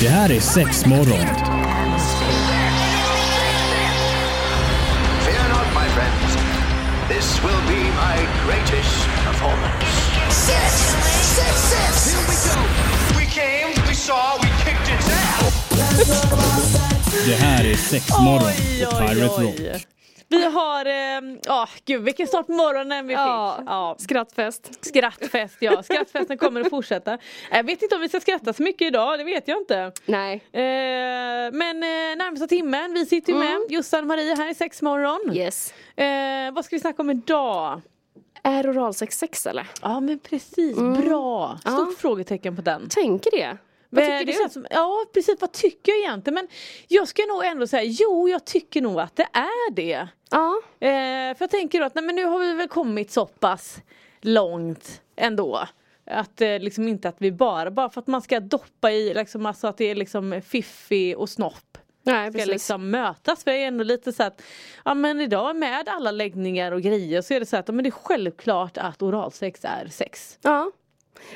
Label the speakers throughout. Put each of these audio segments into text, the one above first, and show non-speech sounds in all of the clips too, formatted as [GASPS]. Speaker 1: Det här är sex morgon.
Speaker 2: Fear not, my friends. This will be my greatest performance.
Speaker 3: Six, six, six.
Speaker 2: We came, we saw, we kicked its ass.
Speaker 1: Det här är sex morgon på Pirate Rock.
Speaker 4: Vi har, eh, ja gud vilken start på morgonen vi fick.
Speaker 5: Ja.
Speaker 4: Ja.
Speaker 5: Skrattfest.
Speaker 4: Skrattfest [LAUGHS] ja, skrattfesten kommer att fortsätta. Jag vet inte om vi ska skratta så mycket idag, det vet jag inte.
Speaker 5: Nej.
Speaker 4: Eh, men eh, närmsta timmen, vi sitter ju med Jossan Marie här i sex morgon.
Speaker 5: Yes.
Speaker 4: Eh, vad ska vi snacka om idag?
Speaker 5: Är oralsex sex eller?
Speaker 4: Ja men precis, bra! Stort
Speaker 5: Ja.
Speaker 4: frågetecken på den.
Speaker 5: Tänker det. Vad tycker
Speaker 4: Eh, det
Speaker 5: du?
Speaker 4: känns Som, ja precis, vad tycker jag egentligen? Men jag ska nog ändå säga, jo jag tycker nog att det är det.
Speaker 5: Ja.
Speaker 4: Eh, för jag tänker då att nej, men nu har vi väl kommit så pass långt ändå. Att eh, liksom inte att vi bara, bara för att man ska doppa i liksom alltså att det är liksom fiffi och snopp.
Speaker 5: Nej,
Speaker 4: Ska
Speaker 5: precis.
Speaker 4: liksom mötas. För jag är ändå lite så att ja men idag med alla läggningar och grejer så är det så att ja, men det är självklart att oralsex är sex.
Speaker 5: Ja.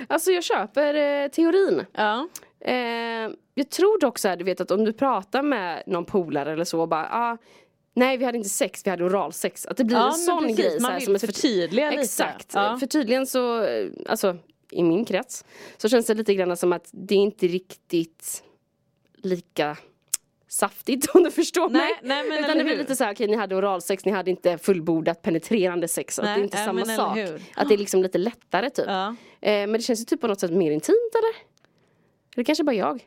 Speaker 5: Alltså jag köper eh, teorin.
Speaker 4: Ja.
Speaker 5: Eh, jag tror dock så här, du vet att om du pratar med någon polare eller så och bara ah, Nej vi hade inte sex, vi hade oralsex. Att det blir
Speaker 4: Ja,
Speaker 5: en
Speaker 4: men
Speaker 5: sån
Speaker 4: precis.
Speaker 5: grej. så
Speaker 4: Man
Speaker 5: här,
Speaker 4: vill
Speaker 5: ett förty-
Speaker 4: förtydliga lite.
Speaker 5: Exakt.
Speaker 4: Ja.
Speaker 5: För tydligen så, eh, alltså i min krets, så känns det lite grann som att det är inte riktigt lika saftigt [LAUGHS] om du förstår
Speaker 4: Nej,
Speaker 5: mig.
Speaker 4: nej, men eller
Speaker 5: Utan det blir
Speaker 4: hur?
Speaker 5: lite så här, okej ni hade oralsex, ni hade inte fullbordat penetrerande sex. att
Speaker 4: Nej,
Speaker 5: det är inte
Speaker 4: nej,
Speaker 5: samma
Speaker 4: men eller
Speaker 5: sak.
Speaker 4: hur?
Speaker 5: Att det är liksom lite lättare typ.
Speaker 4: Ja.
Speaker 5: Eh, men det känns ju typ på något sätt mer intimt eller? Eller kanske bara jag?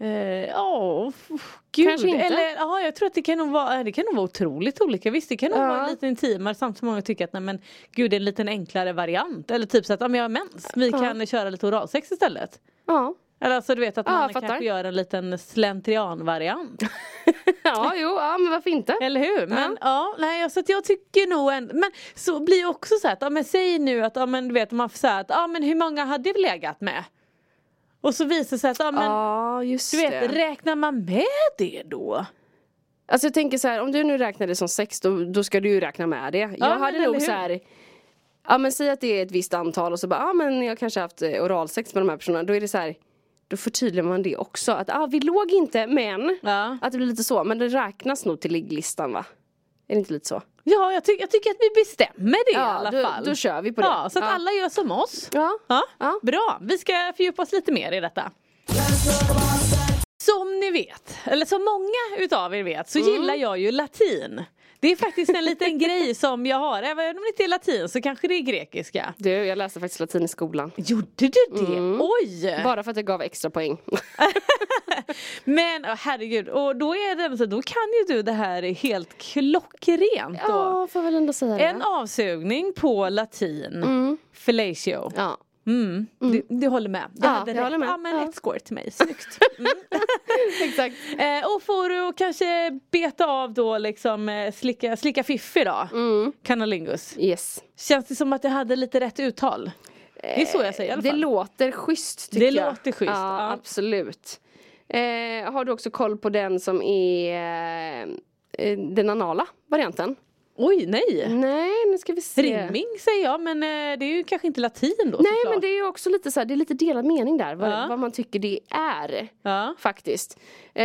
Speaker 4: Eh, Ja, f- gud.
Speaker 5: Kanske inte.
Speaker 4: Eller, ja, jag tror att det kan, nog vara, eh, det kan nog vara otroligt olika. Visst, det kan nog
Speaker 5: Ja.
Speaker 4: vara lite intimare samtidigt som många tycker att nej, men, gud, det är en liten enklare variant. Eller typ så att ja, men jag har mens, vi
Speaker 5: Ja.
Speaker 4: kan köra lite oralsex istället.
Speaker 5: Ja.
Speaker 4: Eller alltså du vet att
Speaker 5: Ja,
Speaker 4: man
Speaker 5: jag fattar.
Speaker 4: kanske gör en liten
Speaker 5: [LAUGHS]
Speaker 4: slentrian-variant.
Speaker 5: ja, jo, ja, men varför inte?
Speaker 4: Eller hur? Men ja, nej, ja, så att jag tycker nog ändå, men så blir det också så här att, ja men säg nu att, ja men du vet man får säga att, ja men hur många hade vi legat med? Och så visar det sig att, ja men
Speaker 5: ja, just
Speaker 4: du vet,
Speaker 5: det.
Speaker 4: räknar man med det då?
Speaker 5: Alltså jag tänker så här, om du nu räknar det som sex då, då ska du ju räkna med det. Jag
Speaker 4: men
Speaker 5: hade
Speaker 4: eller
Speaker 5: nog
Speaker 4: hur?
Speaker 5: så här, ja men säg att det är ett visst antal och så bara, ja men jag kanske haft eh, oralsex med de här personerna. Då är det så här, då förtydligar man det också. Att ah, vi låg inte men,
Speaker 4: Ja.
Speaker 5: att det blir lite så. Men det räknas nog till ligglistan va? Är det inte lite så?
Speaker 4: Ja, jag, ty- jag tycker att vi bestämmer det i
Speaker 5: Ja,
Speaker 4: alla
Speaker 5: då-
Speaker 4: fall.
Speaker 5: då kör vi på det.
Speaker 4: Ja, så att
Speaker 5: Ja.
Speaker 4: alla gör som oss.
Speaker 5: Ja.
Speaker 4: Ja,
Speaker 5: Ja.
Speaker 4: Bra, vi ska fördjupa oss lite mer i detta. Som ni vet, eller som många utav er vet,
Speaker 5: Mm.
Speaker 4: så gillar jag ju latin. Det är faktiskt en
Speaker 5: [LAUGHS]
Speaker 4: liten grej som jag har, även om det inte är latin så kanske det är grekiska.
Speaker 5: Du, jag läste faktiskt latin i skolan.
Speaker 4: Gjorde du det?
Speaker 5: Mm.
Speaker 4: Oj!
Speaker 5: Bara för att det gav extra poäng.
Speaker 4: Men oh, herregud, och då, är det, så då kan ju du det här helt klockrent. Då.
Speaker 5: Ja, får väl ändå säga det.
Speaker 4: En avsugning på latin, fellatio.
Speaker 5: Mm. Ja.
Speaker 4: Mm. Du, du håller med? Jag
Speaker 5: Ja,
Speaker 4: hade
Speaker 5: jag
Speaker 4: rätt.
Speaker 5: håller med.
Speaker 4: Ja, men
Speaker 5: Ja.
Speaker 4: ett score till mig, snyggt.
Speaker 5: [LAUGHS]
Speaker 4: Mm.
Speaker 5: [LAUGHS] Exakt.
Speaker 4: eh, och får du kanske beta av då liksom eh, slicka, slicka fiffi då? Mm. Canalingus.
Speaker 5: Yes.
Speaker 4: Känns det som att jag hade lite rätt uttal? Det är så jag säger i alla
Speaker 5: Eh, Det
Speaker 4: fall.
Speaker 5: låter schysst tycker
Speaker 4: Det
Speaker 5: jag.
Speaker 4: låter schysst,
Speaker 5: Ja,
Speaker 4: ja.
Speaker 5: absolut. Eh, har du också koll på den som är eh, den anala varianten?
Speaker 4: Oj,
Speaker 5: Mm.
Speaker 4: nej!
Speaker 5: Nej, nu ska vi se.
Speaker 4: Rimming säger jag, men eh, det är ju kanske inte latin då
Speaker 5: Nej,
Speaker 4: såklart.
Speaker 5: men det är ju också lite så här, det är lite delad mening där. Vad,
Speaker 4: Ja.
Speaker 5: vad man tycker det är.
Speaker 4: Ja.
Speaker 5: Faktiskt. Eh,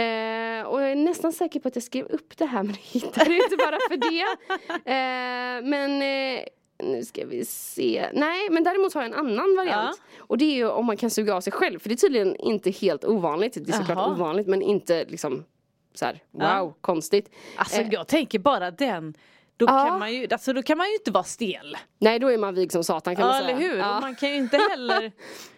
Speaker 5: och jag är nästan säker på att jag skrev upp det här men jag hittade inte bara för
Speaker 4: [LAUGHS]
Speaker 5: det. Eh, men eh, nu ska vi se. Nej men däremot har jag en annan variant. Och det är ju om man kan suga av sig själv. För det är tydligen inte helt ovanligt. Det är såklart
Speaker 4: Jaha.
Speaker 5: ovanligt men inte liksom så här, wow,
Speaker 4: Ja.
Speaker 5: konstigt.
Speaker 4: Alltså
Speaker 5: Eh,
Speaker 4: jag tänker bara den, då,
Speaker 5: Ja.
Speaker 4: kan man ju, alltså, då kan man ju inte vara stel.
Speaker 5: Nej då är man vig som satan kan
Speaker 4: Ja
Speaker 5: man säga.
Speaker 4: eller hur,
Speaker 5: Ja.
Speaker 4: och man kan ju inte
Speaker 5: [LAUGHS]
Speaker 4: heller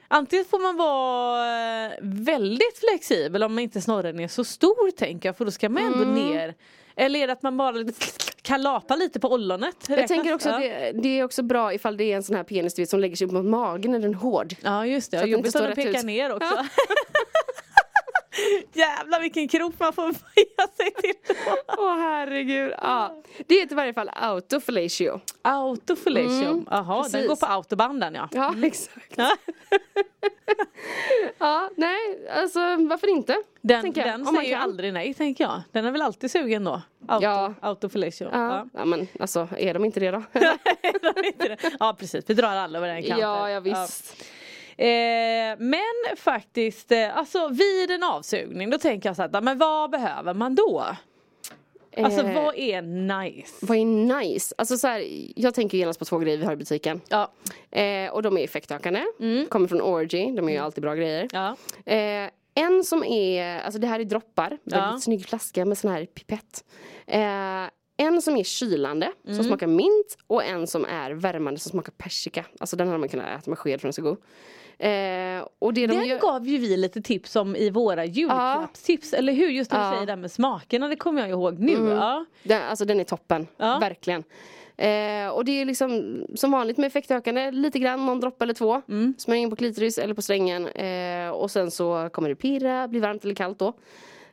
Speaker 4: Antingen får man vara eh, väldigt flexibel om inte snorren är så stor tänker jag för då ska man ändå
Speaker 5: Mm.
Speaker 4: ner Eller är det att man bara lite [LAUGHS] kan lapa lite på ollonet?
Speaker 5: Jag
Speaker 4: Räknas?
Speaker 5: tänker också
Speaker 4: ja.
Speaker 5: att det, det är också bra ifall det är en sån här penis du vet, som lägger sig upp mot magen när den är hård.
Speaker 4: Ja just det,
Speaker 5: Så
Speaker 4: ja,
Speaker 5: att det inte
Speaker 4: jobbigt
Speaker 5: står
Speaker 4: om de
Speaker 5: rätt
Speaker 4: pekar
Speaker 5: ut.
Speaker 4: ner också [LAUGHS] Jävlar vilken krok man får böja sig till
Speaker 5: [LAUGHS] Åh herregud. Ja. Det heter i varje fall autofellatio.
Speaker 4: Autofellatio, jaha den
Speaker 5: Mm, precis.
Speaker 4: går på autobanden ja
Speaker 5: Ja [LAUGHS] exakt.
Speaker 4: Ja. [LAUGHS]
Speaker 5: Ja nej alltså varför inte.
Speaker 4: Den,
Speaker 5: tänker jag. Oh
Speaker 4: den
Speaker 5: Om man
Speaker 4: säger ju
Speaker 5: kan.
Speaker 4: aldrig nej tänker jag Den är väl alltid sugen då? Auto,
Speaker 5: Ja.
Speaker 4: Autofellatio
Speaker 5: Ja.
Speaker 4: Ja. [LAUGHS]
Speaker 5: Ja. men alltså är de inte det då?
Speaker 4: Nej, de är inte det. ja precis, vi drar alla över en kant.
Speaker 5: [LAUGHS] ja
Speaker 4: här.
Speaker 5: ja visst.
Speaker 4: Ja. Eh, men faktiskt, eh, alltså vid en avsugning då tänker jag så här, men vad behöver man då? Alltså
Speaker 5: Eh,
Speaker 4: vad är nice?
Speaker 5: Vad är nice? Alltså så här, jag tänker genast på två grejer vi har i butiken.
Speaker 4: Ja. Mm.
Speaker 5: Eh, och de är effektökande. Kommer från Orgy. De är ju alltid bra grejer.
Speaker 4: Ja.
Speaker 5: Eh, en som är, alltså det här är droppar. Väldigt
Speaker 4: Ja.
Speaker 5: snygg flaska med sån här pipett. Eh, en som är kylande, som smakar mint. Och en som är värmande, som smakar persika. Alltså den hade man kunnat äta med sked för den är så god. Eh, och det de
Speaker 4: Den
Speaker 5: gör...
Speaker 4: gav ju vi lite tips om i våra julklappstips, eller hur? Just när du
Speaker 5: Ja. Mm.
Speaker 4: säger det här med smakerna, det kommer jag ihåg nu. Ja.
Speaker 5: Den, alltså den är toppen,
Speaker 4: Ja.
Speaker 5: verkligen. Eh, och det är liksom som vanligt med effektökande, lite grann, någon droppe eller två. Smörj in på klitoris eller på strängen. Eh, och sen så kommer det pirra, bli varmt eller kallt då.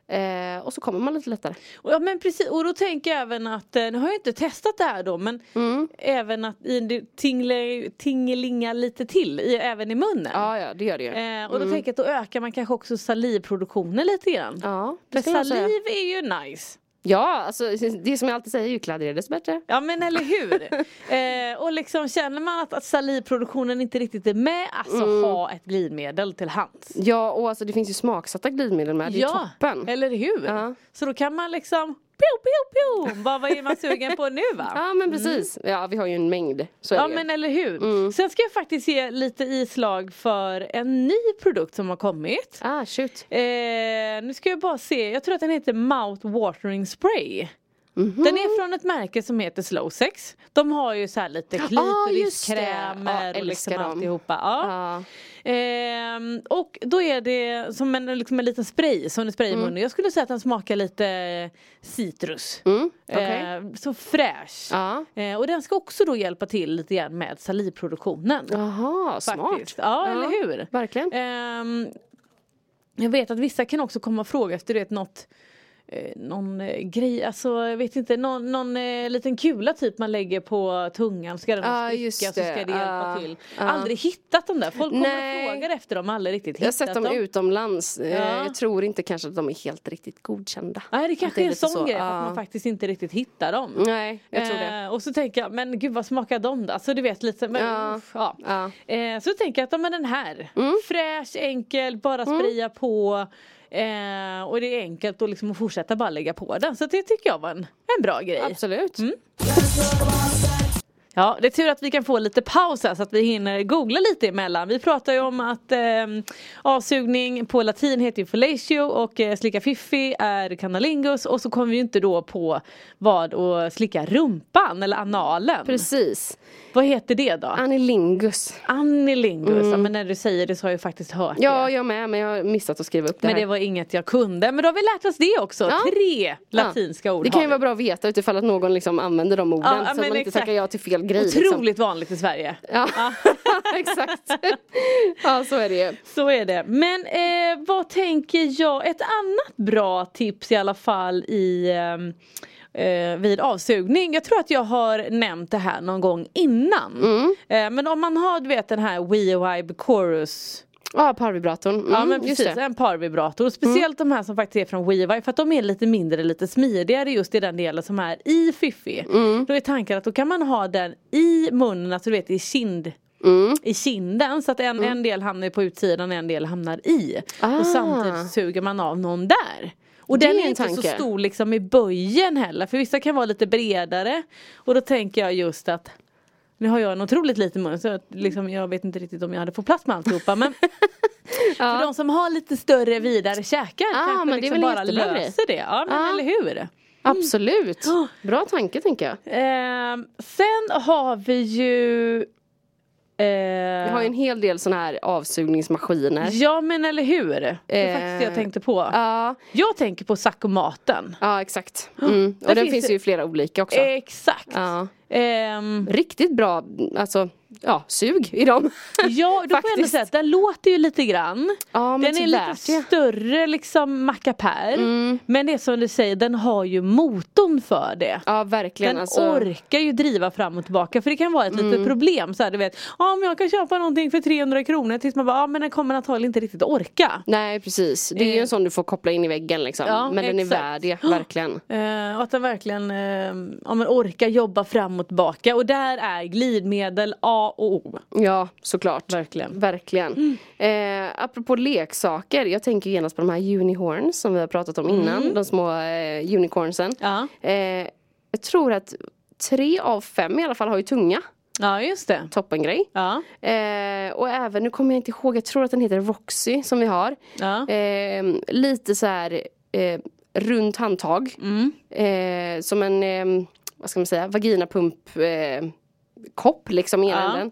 Speaker 5: Eh, och så kommer man lite lättare.
Speaker 4: Och, ja men precis, och då tänker jag även att, eh, nu har jag inte testat det här då men
Speaker 5: Mm.
Speaker 4: även att i- det tingle, tingelingar lite till, i, även i munnen.
Speaker 5: Ja, Mm. ja, det gör det ju.
Speaker 4: Eh, och då tänker jag att då ökar man kanske också salivproduktionen lite grann.
Speaker 5: ja,
Speaker 4: För
Speaker 5: det ska jag säga.
Speaker 4: saliv är ju nice.
Speaker 5: Ja, alltså det som jag alltid säger, ju kladdigare desto bättre.
Speaker 4: Ja men eller
Speaker 5: [LAUGHS]
Speaker 4: hur? eh, och liksom känner man att, att salivproduktionen inte riktigt är med, alltså
Speaker 5: Mm.
Speaker 4: ha ett glidmedel till hands.
Speaker 5: Ja, och alltså det finns ju smaksatta glidmedel med. Det är ju toppen.
Speaker 4: eller hur?
Speaker 5: Ja.
Speaker 4: Så då kan man liksom pio, pio, pio. Bara, vad är man sugen på nu va?
Speaker 5: [LAUGHS]
Speaker 4: Mm.
Speaker 5: Ja, men precis. Ja, vi har ju en mängd. Så är
Speaker 4: Ja
Speaker 5: det ju.
Speaker 4: men eller hur.
Speaker 5: Mm.
Speaker 4: Sen ska jag faktiskt ge lite islag för en ny produkt som har kommit.
Speaker 5: Ah, shoot.
Speaker 4: Eh, nu ska jag bara se, jag tror att den heter Mouth Watering Spray.
Speaker 5: Mhm.
Speaker 4: Den är från ett märke som heter Slow Sex. De har ju så här lite
Speaker 5: just det.
Speaker 4: klitoriskrämer och
Speaker 5: Ja,
Speaker 4: liksom
Speaker 5: älskar dem.
Speaker 4: alltihopa. Ja.
Speaker 5: Ja.
Speaker 4: Ehm, och då är det som en, liksom en liten spray som du sprayar i
Speaker 5: Mm.
Speaker 4: munnen. Jag skulle säga att den smakar lite citrus.
Speaker 5: Mm, okej.
Speaker 4: Ehm, så fräsch.
Speaker 5: Ja.
Speaker 4: Ehm, och den ska också då hjälpa till lite grann med salivproduktionen.
Speaker 5: Jaha, smart.
Speaker 4: faktiskt. Ja, eller hur?
Speaker 5: Verkligen.
Speaker 4: Ehm, jag vet att vissa kan också komma och fråga efter du vet, något eh, någon eh, grej, alltså jag vet inte, någon, någon eh, liten kula typ man lägger på tungan ska den
Speaker 5: Ja,
Speaker 4: spricka
Speaker 5: just
Speaker 4: så ska
Speaker 5: det.
Speaker 4: det hjälpa
Speaker 5: Ja,
Speaker 4: till.
Speaker 5: ja.
Speaker 4: Aldrig hittat dem där, folk kommer
Speaker 5: Nej.
Speaker 4: och frågar efter dem, aldrig riktigt
Speaker 5: Jag har
Speaker 4: hittat
Speaker 5: sett dem utomlands. Eh,
Speaker 4: Ja.
Speaker 5: Jag tror inte kanske att de är helt riktigt godkända.
Speaker 4: Nej det kanske
Speaker 5: Att
Speaker 4: är en
Speaker 5: lite
Speaker 4: sån grej,
Speaker 5: Ja.
Speaker 4: att man faktiskt inte riktigt hittar dem.
Speaker 5: Nej, jag tror det.
Speaker 4: Eh, och så tänker jag, men gud vad smakar de då? Alltså du vet lite, men,
Speaker 5: Ja.
Speaker 4: uff, ja.
Speaker 5: Ja. Mm.
Speaker 4: Eh, så tänker jag att ja, men den här, fräsch, enkel, bara spraya på. Eh, och det är enkelt att liksom fortsätta bara lägga på den. Så det tycker jag var en, en bra grej.
Speaker 5: Absolut.
Speaker 4: mm. Ja, det är tur att vi kan få lite paus här så att vi hinner googla lite emellan. Vi pratar ju om att eh, avsugning på latin heter ju fellatio och eh, slicka fiffi är canalingus och så kommer vi ju inte då på vad att slicka rumpan eller analen.
Speaker 5: Precis.
Speaker 4: Vad heter det då?
Speaker 5: Anilingus.
Speaker 4: Anilingus, ja, men när du säger det så har jag ju faktiskt hört
Speaker 5: Mm. Ja,
Speaker 4: det.
Speaker 5: jag med, men jag har missat att skriva upp det
Speaker 4: Men
Speaker 5: här.
Speaker 4: det var inget jag kunde. Men då har vi lärt oss det också.
Speaker 5: Ja.
Speaker 4: Tre
Speaker 5: Ja.
Speaker 4: latinska ord
Speaker 5: Det kan
Speaker 4: har
Speaker 5: ju
Speaker 4: vi.
Speaker 5: vara bra att veta utifall att någon liksom använder de orden.
Speaker 4: Ja,
Speaker 5: så
Speaker 4: ja,
Speaker 5: att man
Speaker 4: men
Speaker 5: inte
Speaker 4: exakt.
Speaker 5: tackar ja till fel grej.
Speaker 4: Otroligt
Speaker 5: Liksom.
Speaker 4: vanligt i Sverige.
Speaker 5: Ja, [LAUGHS]
Speaker 4: [LAUGHS]
Speaker 5: exakt. ja, så är det ju.
Speaker 4: Så är det. Men eh, vad tänker jag? Ett annat bra tips i alla fall i, ehm, eh, vid avsugning. Jag tror att jag har nämnt det här någon gång innan.
Speaker 5: Mm.
Speaker 4: Eh, men om man har du vet den här WeVibe Chorus
Speaker 5: Ja, parvibratorn. Mm,
Speaker 4: Ja men
Speaker 5: just
Speaker 4: precis,
Speaker 5: det. Mm.
Speaker 4: en parvibrator. Speciellt de här som faktiskt är från WeVibe för att de är lite mindre, lite smidigare just i den delen som är i Fiffi.
Speaker 5: Mm.
Speaker 4: Då är tanken att då kan man ha den i munnen, alltså du vet i kind
Speaker 5: Mm,
Speaker 4: i kinden så att en, en del hamnar på utsidan en del hamnar i.
Speaker 5: Ah.
Speaker 4: Och samtidigt suger man av någon där. Och
Speaker 5: Det
Speaker 4: den
Speaker 5: är
Speaker 4: är
Speaker 5: en
Speaker 4: inte så
Speaker 5: tanke.
Speaker 4: stor liksom i böjen heller för vissa kan vara lite bredare. Och då tänker jag just att nu har jag en otroligt liten mun så jag, liksom, jag vet inte riktigt om jag hade fått plats med alltihopa
Speaker 5: [LAUGHS]
Speaker 4: men för de som har lite större vidare käkar
Speaker 5: Ah,
Speaker 4: kanske
Speaker 5: men det är
Speaker 4: liksom
Speaker 5: väl en
Speaker 4: bara
Speaker 5: jättebra grej.
Speaker 4: löser det. Ja men
Speaker 5: Ah.
Speaker 4: eller hur.
Speaker 5: Absolut. Bra tanke, tänker jag.
Speaker 4: Ehm, sen har vi ju ehm,
Speaker 5: Vi har ju en hel del såna här avsugningsmaskiner.
Speaker 4: Ja men eller hur. Det är
Speaker 5: Eh,
Speaker 4: faktiskt det jag tänkte på.
Speaker 5: Ja,
Speaker 4: Jag tänker på sakomaten.
Speaker 5: ja exakt. Mm. Och
Speaker 4: Där
Speaker 5: den
Speaker 4: finns
Speaker 5: finns,
Speaker 4: det-
Speaker 5: ju i flera olika också.
Speaker 4: Exakt.
Speaker 5: Ja.
Speaker 4: Ehm,
Speaker 5: Riktigt bra, alltså, ja, sug i dem.
Speaker 4: Ja, då får jag ändå
Speaker 5: Faktiskt.
Speaker 4: säga att den låter ju lite grann.
Speaker 5: [LAUGHS] Ja, men typ
Speaker 4: den är lite
Speaker 5: värt det.
Speaker 4: större liksom mackapär.
Speaker 5: Mm.
Speaker 4: Men det är som du säger, den har ju motorn för det.
Speaker 5: Ja, verkligen.
Speaker 4: Den
Speaker 5: alltså. Mm.
Speaker 4: orkar ju driva fram och tillbaka för det kan vara ett litet problem. Så här, du vet, ja men jag kan köpa någonting för 300 kronor tills man bara, ja men den kommer antagligen inte riktigt orka.
Speaker 5: Nej, precis. Det är ju
Speaker 4: Eh.
Speaker 5: en sån du får koppla in i väggen liksom.
Speaker 4: Ja,
Speaker 5: men den är
Speaker 4: exakt. [GASPS]
Speaker 5: värd det, verkligen.
Speaker 4: Eh, och att den verkligen eh, ja, men orkar jobba fram och tillbaka. Och där är glidmedel A A och O.
Speaker 5: Ja, såklart.
Speaker 4: Verkligen. Mm.
Speaker 5: Verkligen. Eh, apropå leksaker, jag tänker genast på de här unihorns som vi har pratat om innan.
Speaker 4: Mm.
Speaker 5: De små eh, unicornsen.
Speaker 4: Ja.
Speaker 5: Eh, jag tror att tre av fem i alla fall har ju tunga.
Speaker 4: ja, just det.
Speaker 5: Toppengrej.
Speaker 4: Ja.
Speaker 5: Eh, och även, nu kommer jag inte ihåg, jag tror att den heter Roxy som vi har.
Speaker 4: Ja.
Speaker 5: Eh, lite så här eh, runt handtag.
Speaker 4: Mm,
Speaker 5: Eh, som en, eh, vad ska man säga, vaginapump eh, kopp liksom i ena
Speaker 4: Ja.
Speaker 5: änden.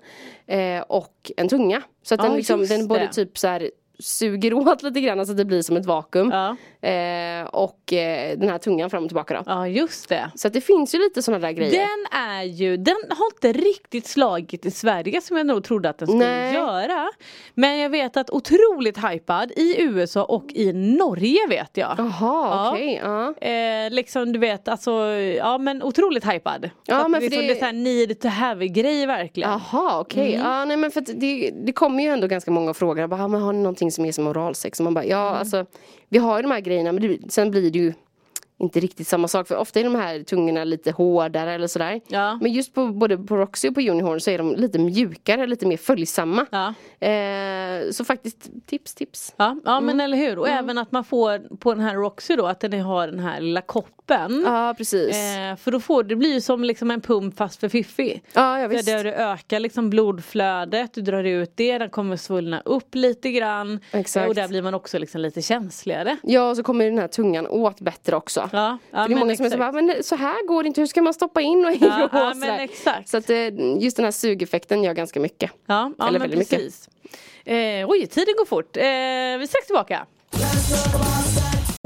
Speaker 5: Eh, och en tunga. Så att
Speaker 4: Ja,
Speaker 5: den, liksom,
Speaker 4: just
Speaker 5: den både
Speaker 4: det.
Speaker 5: typ så här suger [LAUGHS] åt lite grann så att det blir som ett vakuum.
Speaker 4: Ja.
Speaker 5: Eh, och eh, den här tungan fram och tillbaka då.
Speaker 4: ja, just det.
Speaker 5: Så att det finns ju lite sådana där grejer.
Speaker 4: Den är ju, den har inte riktigt slagit i Sverige som jag nog trodde att den skulle
Speaker 5: Nej.
Speaker 4: göra. Men jag vet att otroligt hypad i USA och i Norge vet jag.
Speaker 5: Jaha,
Speaker 4: Ja.
Speaker 5: okej. ja.
Speaker 4: Eh, liksom du vet, alltså, ja men otroligt hypad.
Speaker 5: Ja,
Speaker 4: att
Speaker 5: men för
Speaker 4: liksom,
Speaker 5: det-
Speaker 4: det är såhär need to have grej verkligen.
Speaker 5: Jaha, okej.
Speaker 4: Mm.
Speaker 5: Ja, nej, men för att det, det kommer ju ändå ganska många frågor. Jag Bara, ah, men har ni någonting som är som oralsex? Och man bara, ja,
Speaker 4: Mm.
Speaker 5: alltså, vi har ju de här grejerna, men det, sen blir det ju inte riktigt samma sak. För ofta är de här tungorna lite hårdare eller sådär.
Speaker 4: Ja.
Speaker 5: Men just på, både på Roxy och på Unihorn så är de lite mjukare, lite mer följsamma.
Speaker 4: Ja.
Speaker 5: Eh, så faktiskt, tips, tips.
Speaker 4: Ja, ja
Speaker 5: Mm.
Speaker 4: men eller hur. Och även att man får på den här Roxy då att den har den här lilla koppen.
Speaker 5: Ja, precis. Ja,
Speaker 4: Mm. Eh, för då får det blir ju som liksom en pump fast för fiffi.
Speaker 5: ja,
Speaker 4: Där
Speaker 5: visst.
Speaker 4: där du ökar liksom blodflödet, du drar ut det, den kommer svullna upp lite grann.
Speaker 5: Exakt.
Speaker 4: Och där blir man också liksom lite känsligare.
Speaker 5: Ja, och så kommer den här tungan åt bättre också.
Speaker 4: Ja, ja,
Speaker 5: För det är
Speaker 4: men
Speaker 5: många som är så
Speaker 4: exakt.
Speaker 5: bara, men så här går det inte, hur ska man stoppa in och hej
Speaker 4: Ja,
Speaker 5: och
Speaker 4: ja
Speaker 5: så
Speaker 4: men
Speaker 5: där.
Speaker 4: exakt.
Speaker 5: Så att eh, just den här sugeffekten gör ganska mycket.
Speaker 4: Ja, ja
Speaker 5: Eller
Speaker 4: men
Speaker 5: väldigt mycket.
Speaker 4: precis. Eh, oj, tiden går fort. Eh, vi är strax tillbaka.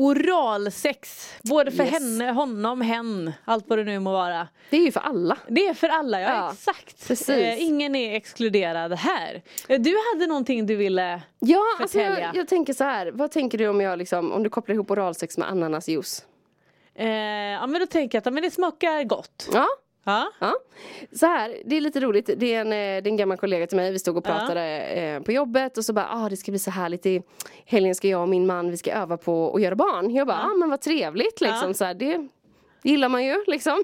Speaker 4: Oralsex, både för
Speaker 5: Yes.
Speaker 4: henne, honom, hen, allt vad det nu må vara.
Speaker 5: Det är ju för alla.
Speaker 4: Det är för alla, ja,
Speaker 5: Ja,
Speaker 4: exakt.
Speaker 5: precis.
Speaker 4: Eh, ingen är exkluderad här. Eh, du hade någonting du ville...
Speaker 5: Ja, alltså
Speaker 4: Förtälja.
Speaker 5: jag, jag tänker så här. Vad tänker du om jag liksom, om du kopplar ihop oralsex med ananasjuice?
Speaker 4: Eh, ja men då tänker jag att ja, men det smakar gott.
Speaker 5: Ja.
Speaker 4: Ja,
Speaker 5: Ja. Så här, det är lite roligt. Det är, en, eh, det är en gammal kollega till mig. Vi stod och pratade eh, på jobbet och så bara, ah, det ska bli så härligt. I helgen ska jag och min man, vi ska öva på att göra barn. Jag bara, ah, men vad trevligt liksom. Så här, det gillar man ju liksom.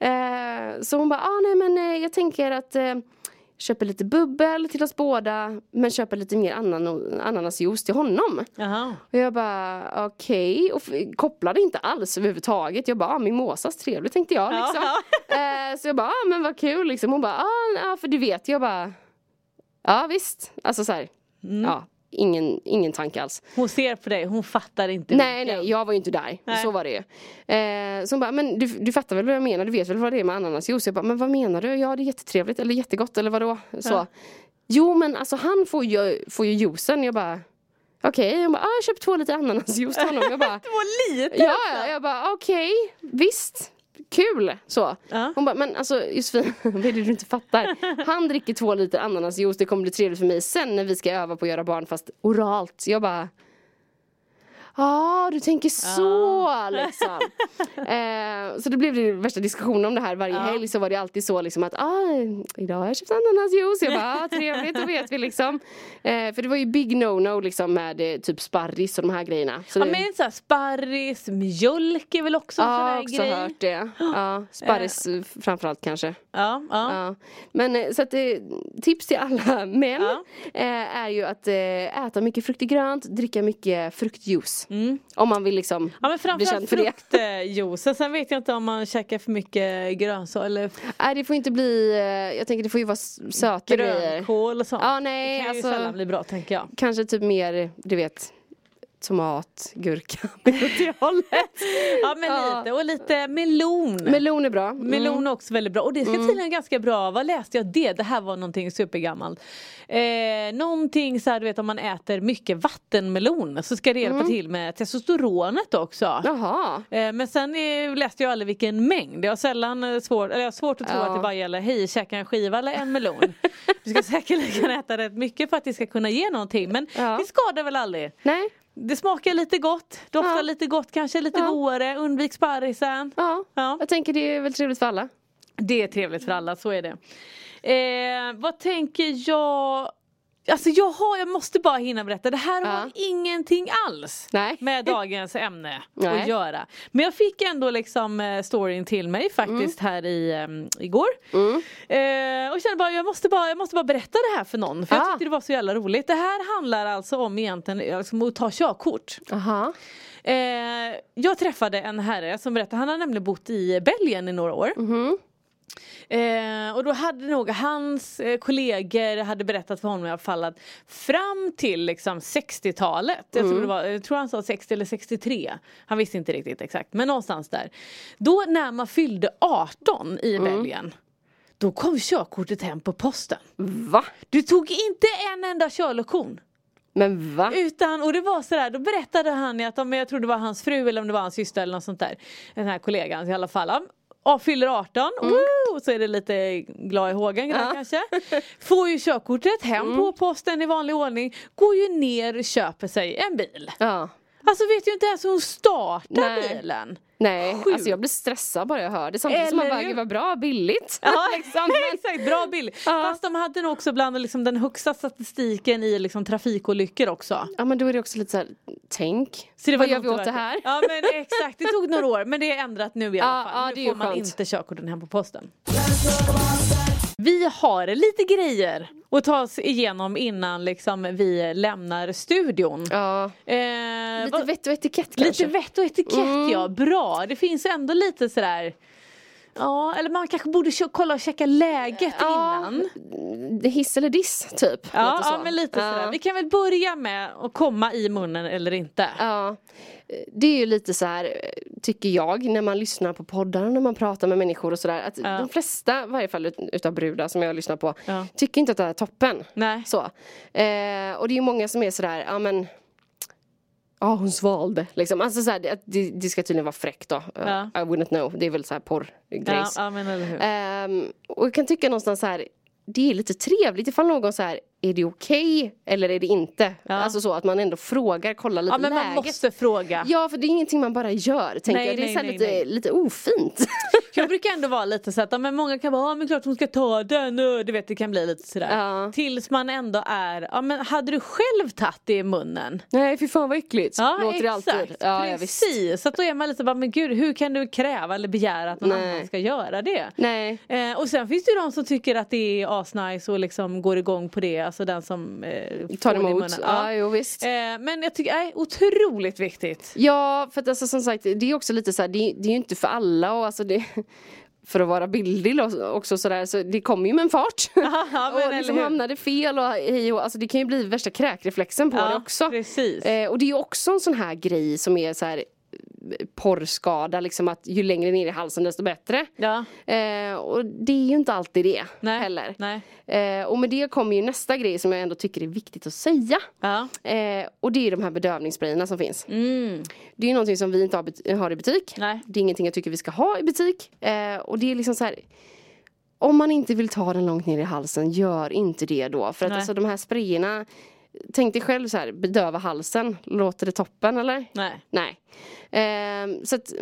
Speaker 5: Eh, så hon bara, ah, nej men eh, jag tänker att eh, köper lite bubbel till oss båda men köper lite mer anano- ananasjuice till honom.
Speaker 4: Jaha.
Speaker 5: Och jag bara okej och f- kopplade inte alls överhuvudtaget. Jag bara ah, mimosas trevligt tänkte jag
Speaker 4: Ja. [LAUGHS]
Speaker 5: liksom. eh, så jag bara ah, men vad kul liksom. Hon bara ah, ja för du vet. Jag bara ja visst. Alltså så här, ja ingen, ingen tanke alls.
Speaker 4: Hon ser på dig, hon fattar inte.
Speaker 5: Nej
Speaker 4: vilken.
Speaker 5: nej jag var ju inte där.
Speaker 4: Nej.
Speaker 5: Så var det ju. Eh, så hon bara men du, du fattar väl vad jag menar. Du vet väl vad det är med ananasjuice. Jag bara men vad menar du? Ja det är jättetrevligt eller jättegott eller vadå? Så. Jo men alltså han får ju, får ju juicen. Jag bara okej. Hon bara ah, jag köpte två lite ananasjuice till honom. Jag bara
Speaker 4: Det var lite
Speaker 5: Ja,
Speaker 4: också.
Speaker 5: ja, jag bara okej, visst, kul så.
Speaker 4: Ja.
Speaker 5: Hon bara, men alltså Josefin, [LAUGHS] vad är det du inte fattar? Han dricker två liter ananasjuice, det kommer bli trevligt för mig sen när vi ska öva på att göra barn fast oralt. Jag bara Ja, ah, du tänker så liksom. [LAUGHS] eh, så det blev det värsta diskussionen om det här varje helg så var det alltid så liksom att ah, idag har jag köpt ananasjuice. Jag bara, ah, trevligt, då vet vi liksom. Eh, för det var ju big no-no liksom med eh, typ sparris och de här grejerna. Så
Speaker 4: Ja
Speaker 5: det-
Speaker 4: men så här, sparris, mjölk Alltså, är väl också en sån
Speaker 5: Ja,
Speaker 4: där
Speaker 5: också
Speaker 4: grej.
Speaker 5: hört det.
Speaker 4: [GASPS]
Speaker 5: Ja, sparris eh, framförallt kanske.
Speaker 4: Ja, ja.
Speaker 5: Ja. Men eh, så att eh, tips till alla [LAUGHS] män
Speaker 4: Ja.
Speaker 5: eh, är ju att eh, äta mycket frukt och grönt, dricka mycket fruktjuice. Om man vill liksom
Speaker 4: Mm. Ja men
Speaker 5: bli
Speaker 4: framförallt
Speaker 5: känd för det.
Speaker 4: fruktjuicen, sen vet jag inte om man käkar för mycket grönsaker eller
Speaker 5: Nej det får inte bli, eh, jag tänker det får ju vara s- söta grejer.
Speaker 4: grönkål och sånt.
Speaker 5: Ja, nej,
Speaker 4: det kan
Speaker 5: alltså-
Speaker 4: ju sällan bli bra tänker
Speaker 5: [LAUGHS]
Speaker 4: jag.
Speaker 5: Kanske typ mer, du vet, tomat,
Speaker 4: [LAUGHS]
Speaker 5: gurka. åt det hållet.
Speaker 4: Ja men
Speaker 5: Ja.
Speaker 4: lite, och lite melon.
Speaker 5: Melon är bra. Mm.
Speaker 4: Melon är också väldigt bra och det ska tydligen ganska bra, vad läste jag det? Det här var någonting supergammalt. Eh, någonting så här, du vet om man äter mycket vattenmelon så ska det hjälpa
Speaker 5: Mm.
Speaker 4: till med testosteronet också.
Speaker 5: Jaha.
Speaker 4: Eh, Men sen eh, läste jag aldrig vilken mängd. Jag har sällan eh, svår, eller jag har svårt att tro
Speaker 5: Ja.
Speaker 4: att det bara gäller hej, käka en skiva eller en
Speaker 5: [LAUGHS]
Speaker 4: melon. du ska säkerligen äta rätt mycket för att det ska kunna ge någonting. Men
Speaker 5: Ja.
Speaker 4: det skadar väl aldrig.
Speaker 5: Nej.
Speaker 4: Det smakar lite gott, doftar
Speaker 5: Ja.
Speaker 4: lite gott, kanske lite
Speaker 5: Ja.
Speaker 4: godare, undvik sparrisen.
Speaker 5: Ja.
Speaker 4: Ja.
Speaker 5: Jag tänker det är väl trevligt för alla.
Speaker 4: Det är trevligt för alla, så är det. Eh, vad tänker jag? Alltså jag, har, jag måste bara hinna berätta, det här har
Speaker 5: Ja.
Speaker 4: ingenting alls
Speaker 5: Nej.
Speaker 4: med dagens ämne att
Speaker 5: Nej.
Speaker 4: göra. Men jag fick ändå liksom eh, storyn till mig faktiskt
Speaker 5: Mm.
Speaker 4: här i, ehm, igår. Eh, och kände bara jag, måste bara jag måste bara berätta det här för någon för jag
Speaker 5: Ah.
Speaker 4: tyckte det var så jävla roligt. Det här handlar alltså om egentligen eh, liksom, att ta körkort.
Speaker 5: Aha.
Speaker 4: Eh, jag träffade en herre som berättade, han har nämligen bott i Belgien i några år. Eh, och då hade nog hans eh, kollegor hade berättat för honom i alla fall att fram till liksom, 60-talet, jag, tror det var, jag tror han sa 60 eller 63, han visste inte riktigt exakt, men någonstans där. Då när man fyllde 18 i Belgien, då kom körkortet hem på posten.
Speaker 5: Va?
Speaker 4: Du tog inte en enda körlektion.
Speaker 5: Men va?
Speaker 4: Utan, och det var sådär, då berättade han ju att om jag tror det var hans fru eller om det var hans syster eller något sånt där. Den här kollegan i alla fall. ja, Ja, fyller 18, woo, så är det lite glad i hågen
Speaker 5: Mm. Ja. Mm.
Speaker 4: kanske. Får ju körkortet hem på posten i vanlig ordning. Går ju ner och köper sig en bil.
Speaker 5: Ja.
Speaker 4: Alltså vet ju inte ens hur hon startar
Speaker 5: Nej.
Speaker 4: bilen.
Speaker 5: Nej,
Speaker 4: Sjukt.
Speaker 5: alltså jag blir stressad bara jag hör det. Samtidigt som man
Speaker 4: Eller
Speaker 5: bara,
Speaker 4: hur?
Speaker 5: gud vad bra, billigt.
Speaker 4: [LAUGHS] Ja
Speaker 5: [LAUGHS] liksom. Men,
Speaker 4: exakt, bra bild.
Speaker 5: Ja.
Speaker 4: Fast de hade nog också bland liksom, den högsta statistiken i liksom, trafikolyckor också.
Speaker 5: ja men då är det också lite så här, tänk.
Speaker 4: Så det var
Speaker 5: vad gör vi
Speaker 4: något
Speaker 5: åt det
Speaker 4: verkligen-
Speaker 5: här?
Speaker 4: [LAUGHS] Ja men exakt, det tog några år men det är ändrat nu i alla
Speaker 5: Ja,
Speaker 4: fall.
Speaker 5: ja,
Speaker 4: nu
Speaker 5: det är
Speaker 4: får
Speaker 5: ju
Speaker 4: man
Speaker 5: skönt.
Speaker 4: inte körkorten hem på posten. Vi har lite grejer att ta oss igenom innan liksom, vi lämnar studion.
Speaker 5: [LAUGHS] Ja.
Speaker 4: Eh,
Speaker 5: Lite
Speaker 4: vad-
Speaker 5: vett och etikett kanske. Mm.
Speaker 4: lite vett och etikett ja, bra. Det finns ändå lite sådär Ja, eller man kanske borde kö- kolla och checka läget innan.
Speaker 5: Det Hiss eller diss typ.
Speaker 4: Ja,
Speaker 5: lite så.
Speaker 4: ja, men lite
Speaker 5: Ja.
Speaker 4: sådär. Vi kan väl börja med att komma i munnen eller inte.
Speaker 5: Ja, det är ju lite så här tycker jag när man lyssnar på poddar och när man pratar med människor och sådär. Att de flesta, i varje fall ut- utav brudar som jag lyssnar på,
Speaker 4: Ja.
Speaker 5: tycker inte att det här är toppen.
Speaker 4: Nej.
Speaker 5: Så. Eh, och det är ju många som är sådär, ja men Ja hon svalde liksom. Alltså såhär, det, det, det ska tydligen vara fräckt då.
Speaker 4: Ja.
Speaker 5: I wouldn't know. Det är väl såhär porrgrejs.
Speaker 4: Ja, ja, men eller hur.
Speaker 5: Ehm, och jag kan tycka någonstans så här, det är lite trevligt ifall någon så här, är det okej eller är det inte? Alltså så att man ändå frågar, kollar lite
Speaker 4: Ja men
Speaker 5: läget.
Speaker 4: man måste fråga.
Speaker 5: Ja, för det är ingenting man bara gör, tänker
Speaker 4: Nej,
Speaker 5: jag. Det
Speaker 4: nej,
Speaker 5: är så här
Speaker 4: nej,
Speaker 5: lite,
Speaker 4: nej. [LAUGHS]
Speaker 5: lite ofint.
Speaker 4: Jag brukar ändå vara lite så att ja, men många kan vara ja men klart hon ska ta den och du vet det kan bli lite sådär.
Speaker 5: Ja.
Speaker 4: Tills man ändå är, ja men hade du själv tagit det i munnen?
Speaker 5: nej, fy fan vad äckligt.
Speaker 4: Ja
Speaker 5: Låter det
Speaker 4: exakt,
Speaker 5: alltid. Ja, ja, visst.
Speaker 4: precis. så att då är man lite bara men gud hur kan du kräva eller begära att någon
Speaker 5: Nej.
Speaker 4: annan ska göra det?
Speaker 5: Nej.
Speaker 4: Eh, och sen finns det ju de som tycker att det är asnice och liksom går igång på det, alltså den som eh, får
Speaker 5: Tar
Speaker 4: det i munnen.
Speaker 5: emot. Ja, jo visst.
Speaker 4: Eh, men jag tycker, nej, otroligt viktigt. [LAUGHS]
Speaker 5: Ja, för att alltså, som sagt, det är också lite så här, det, det är ju inte för alla och alltså det [LAUGHS] för att vara billig och- också sådär, så det kommer ju med en fart.
Speaker 4: ja, men
Speaker 5: [LAUGHS] och
Speaker 4: eller
Speaker 5: liksom
Speaker 4: hur.
Speaker 5: hamnar det fel och hej och alltså det kan ju bli värsta kräkreflexen på
Speaker 4: Ja,
Speaker 5: det också.
Speaker 4: precis.
Speaker 5: Eh, och det är ju också en sån här grej som är så här eh, porrskada, liksom att ju längre ner i halsen desto bättre.
Speaker 4: Ja.
Speaker 5: Eh, och det är ju inte alltid det
Speaker 4: Nej,
Speaker 5: heller.
Speaker 4: nej.
Speaker 5: Eh, och med det kommer ju nästa grej som jag ändå tycker är viktigt att säga.
Speaker 4: Ja.
Speaker 5: Eh, och det är de här bedövningssprayerna som finns. Det är ju någonting som vi inte har, bet- har i butik.
Speaker 4: Mm. Nej.
Speaker 5: Det är ingenting jag tycker vi ska ha i butik. Eh, och det är liksom så här. Om man inte vill ta den långt ner i halsen, gör inte det då. För att
Speaker 4: Nej.
Speaker 5: alltså de här sprayerna. Tänk dig själv så här, bedöva halsen. Låter det toppen eller?
Speaker 4: Nej.
Speaker 5: Nej. Eh, så att,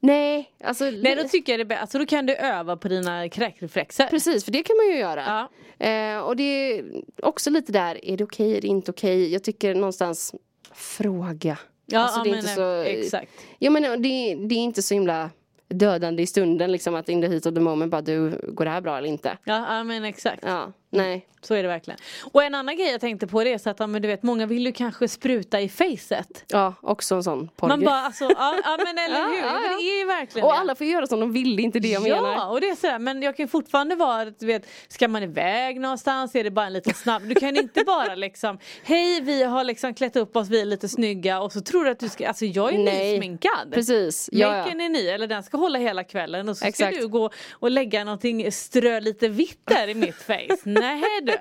Speaker 5: nej. Alltså,
Speaker 4: Nej då tycker jag det är bättre, alltså, då kan du öva på dina kräkreflexer.
Speaker 5: Precis, för det kan man ju göra.
Speaker 4: Ja.
Speaker 5: Eh, och det är också lite där, är det okej, är det inte okej? Jag tycker någonstans, fråga.
Speaker 4: Ja,
Speaker 5: Alltså,
Speaker 4: ja,
Speaker 5: det är
Speaker 4: men,
Speaker 5: inte
Speaker 4: eh,
Speaker 5: så-
Speaker 4: Exakt.
Speaker 5: Ja men det, det är inte så himla dödande i stunden liksom att in the heat of the moment bara du, går det här bra eller inte?
Speaker 4: Ja, ja men exakt.
Speaker 5: Ja, nej.
Speaker 4: Så är det verkligen. Och en annan grej jag tänkte på det är så att ja, men du vet, många vill ju kanske spruta i facet.
Speaker 5: Ja, också en sån porrgrej.
Speaker 4: Man bara alltså, ja, ja
Speaker 5: [LAUGHS]
Speaker 4: men eller
Speaker 5: Ja,
Speaker 4: hur. Ja,
Speaker 5: ja,
Speaker 4: men
Speaker 5: ja.
Speaker 4: det är ju verkligen
Speaker 5: Och
Speaker 4: det.
Speaker 5: alla får göra som de vill, det är inte det jag
Speaker 4: Ja
Speaker 5: menar.
Speaker 4: och det är sådär men jag kan ju fortfarande vara du vet Ska man iväg någonstans är det bara en liten snabb Du kan inte bara liksom Hej vi har liksom klätt upp oss, vi är lite snygga och så tror du att du ska Alltså jag är
Speaker 5: Nej.
Speaker 4: nysminkad
Speaker 5: Precis. Ja, ja.
Speaker 4: Makern är ny, eller den ska hålla hela kvällen och så
Speaker 5: Exakt.
Speaker 4: ska du gå och lägga någonting, strö lite vitt där i mitt face.
Speaker 5: [LAUGHS]
Speaker 4: Nej du,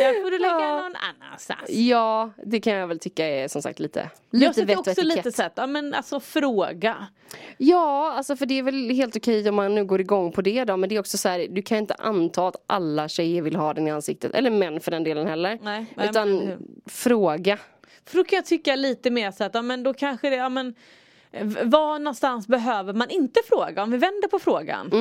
Speaker 4: där får du lägga
Speaker 5: Ja.
Speaker 4: någon annanstans.
Speaker 5: ja, det kan jag väl tycka är som sagt lite,
Speaker 4: Jag
Speaker 5: lite
Speaker 4: tycker
Speaker 5: vett och
Speaker 4: också
Speaker 5: etikett.
Speaker 4: lite så att, ja men alltså fråga.
Speaker 5: Ja, alltså för det är väl helt okej om man nu går igång på det då. Men det är också så här, du kan inte anta att alla tjejer vill ha den i ansiktet. Eller män för den delen heller.
Speaker 4: Nej, nej, men
Speaker 5: Utan
Speaker 4: hur?
Speaker 5: fråga.
Speaker 4: För då kan jag tycka lite mer så att, ja men då kanske det, ja men eh, v- var någonstans behöver man
Speaker 5: Mm.
Speaker 4: inte fråga? Om vi vänder på frågan.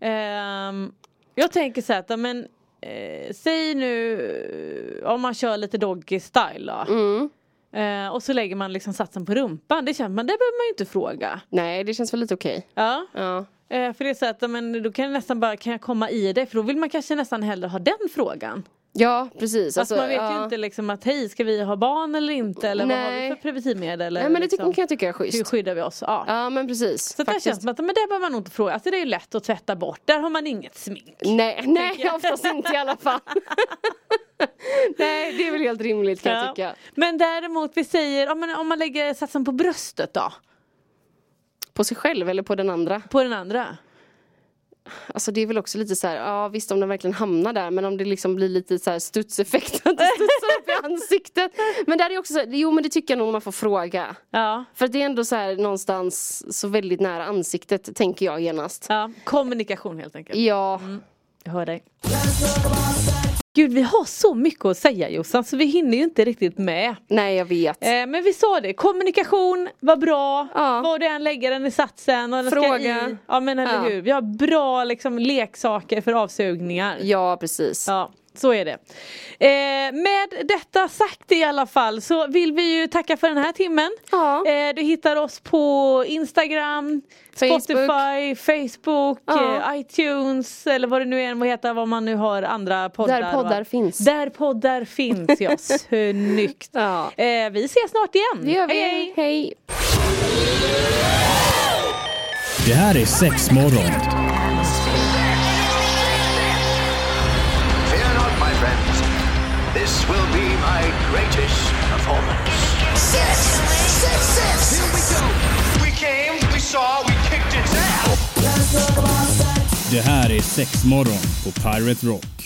Speaker 4: Ehm, jag tänker så här att, ja men eh, säg nu eh, om man kör lite doggy style då.
Speaker 5: Mm.
Speaker 4: Eh, och så lägger man liksom satsen på rumpan. Det känns man, det behöver man ju inte fråga.
Speaker 5: Nej, det känns väl lite okej.
Speaker 4: Ja.
Speaker 5: Ja.
Speaker 4: Eh, för det är så att ja, men, då kan jag nästan bara, kan jag komma i det? För då vill man kanske nästan hellre ha den frågan.
Speaker 5: ja, precis.
Speaker 4: Alltså, man vet
Speaker 5: ja.
Speaker 4: ju inte liksom att hej ska vi ha barn eller inte eller vad har vi
Speaker 5: Nej.
Speaker 4: för preventivmedel? eller
Speaker 5: Nej, men det
Speaker 4: liksom,
Speaker 5: tycker, kan jag tycka är
Speaker 4: hur
Speaker 5: schysst.
Speaker 4: skyddar vi oss? Ja.
Speaker 5: Ja, men precis.
Speaker 4: Så att där
Speaker 5: Faktiskt.
Speaker 4: känns det som att men det behöver man nog inte fråga. Alltså det är ju lätt att tvätta bort. Där har man inget smink. [LAUGHS]
Speaker 5: Nej, nej oftast inte i alla fall. [LAUGHS] nej, det är väl helt rimligt kan jag
Speaker 4: Ja.
Speaker 5: tycka.
Speaker 4: Men däremot vi säger om man, om man lägger satsen på bröstet då?
Speaker 5: På sig själv eller på den andra.
Speaker 4: På den andra?
Speaker 5: Alltså det är väl också lite så här, ja visst om den verkligen hamnar där men om det liksom blir lite så här studseffekt att det studsar upp i ansiktet. Men där är också så här, jo men det tycker jag nog man får fråga.
Speaker 4: Ja.
Speaker 5: För att det är ändå så här någonstans så väldigt nära ansiktet tänker jag genast.
Speaker 4: ja. Kommunikation helt enkelt.
Speaker 5: Ja,
Speaker 4: Jag hör dig. Gud vi har så mycket att säga Jossan så vi hinner ju inte riktigt med.
Speaker 5: nej jag vet.
Speaker 4: Eh, men vi sa det, kommunikation var bra,
Speaker 5: Ja.
Speaker 4: var du än lägger den i satsen. Och den
Speaker 5: Fråga.
Speaker 4: Ska i. Ja men eller
Speaker 5: Ja.
Speaker 4: hur. Vi har bra liksom, leksaker för avsugningar.
Speaker 5: Ja precis.
Speaker 4: Ja, så är det. Eh, med detta sagt i alla fall så vill vi ju tacka för den här timmen.
Speaker 5: Ja.
Speaker 4: Eh, du hittar oss på Instagram,
Speaker 5: Facebook.
Speaker 4: Spotify, Facebook,
Speaker 5: Ja.
Speaker 4: eh, iTunes eller vad det nu än må heta, vad man nu har andra poddar.
Speaker 5: Där poddar
Speaker 4: va?
Speaker 5: finns.
Speaker 4: Där poddar finns, ja.
Speaker 5: [LAUGHS]
Speaker 4: Snyggt.
Speaker 5: Ja.
Speaker 4: Eh, vi ses snart igen.
Speaker 5: Det gör vi. Hej.
Speaker 1: Det här är sex morgon.
Speaker 2: Fear not, my friends. This will be my greatest performance.
Speaker 3: Six. Six. Six. Here we go.
Speaker 2: We came, we saw, we kicked its ass.
Speaker 1: Det här är sex morgon på Pirate Rock.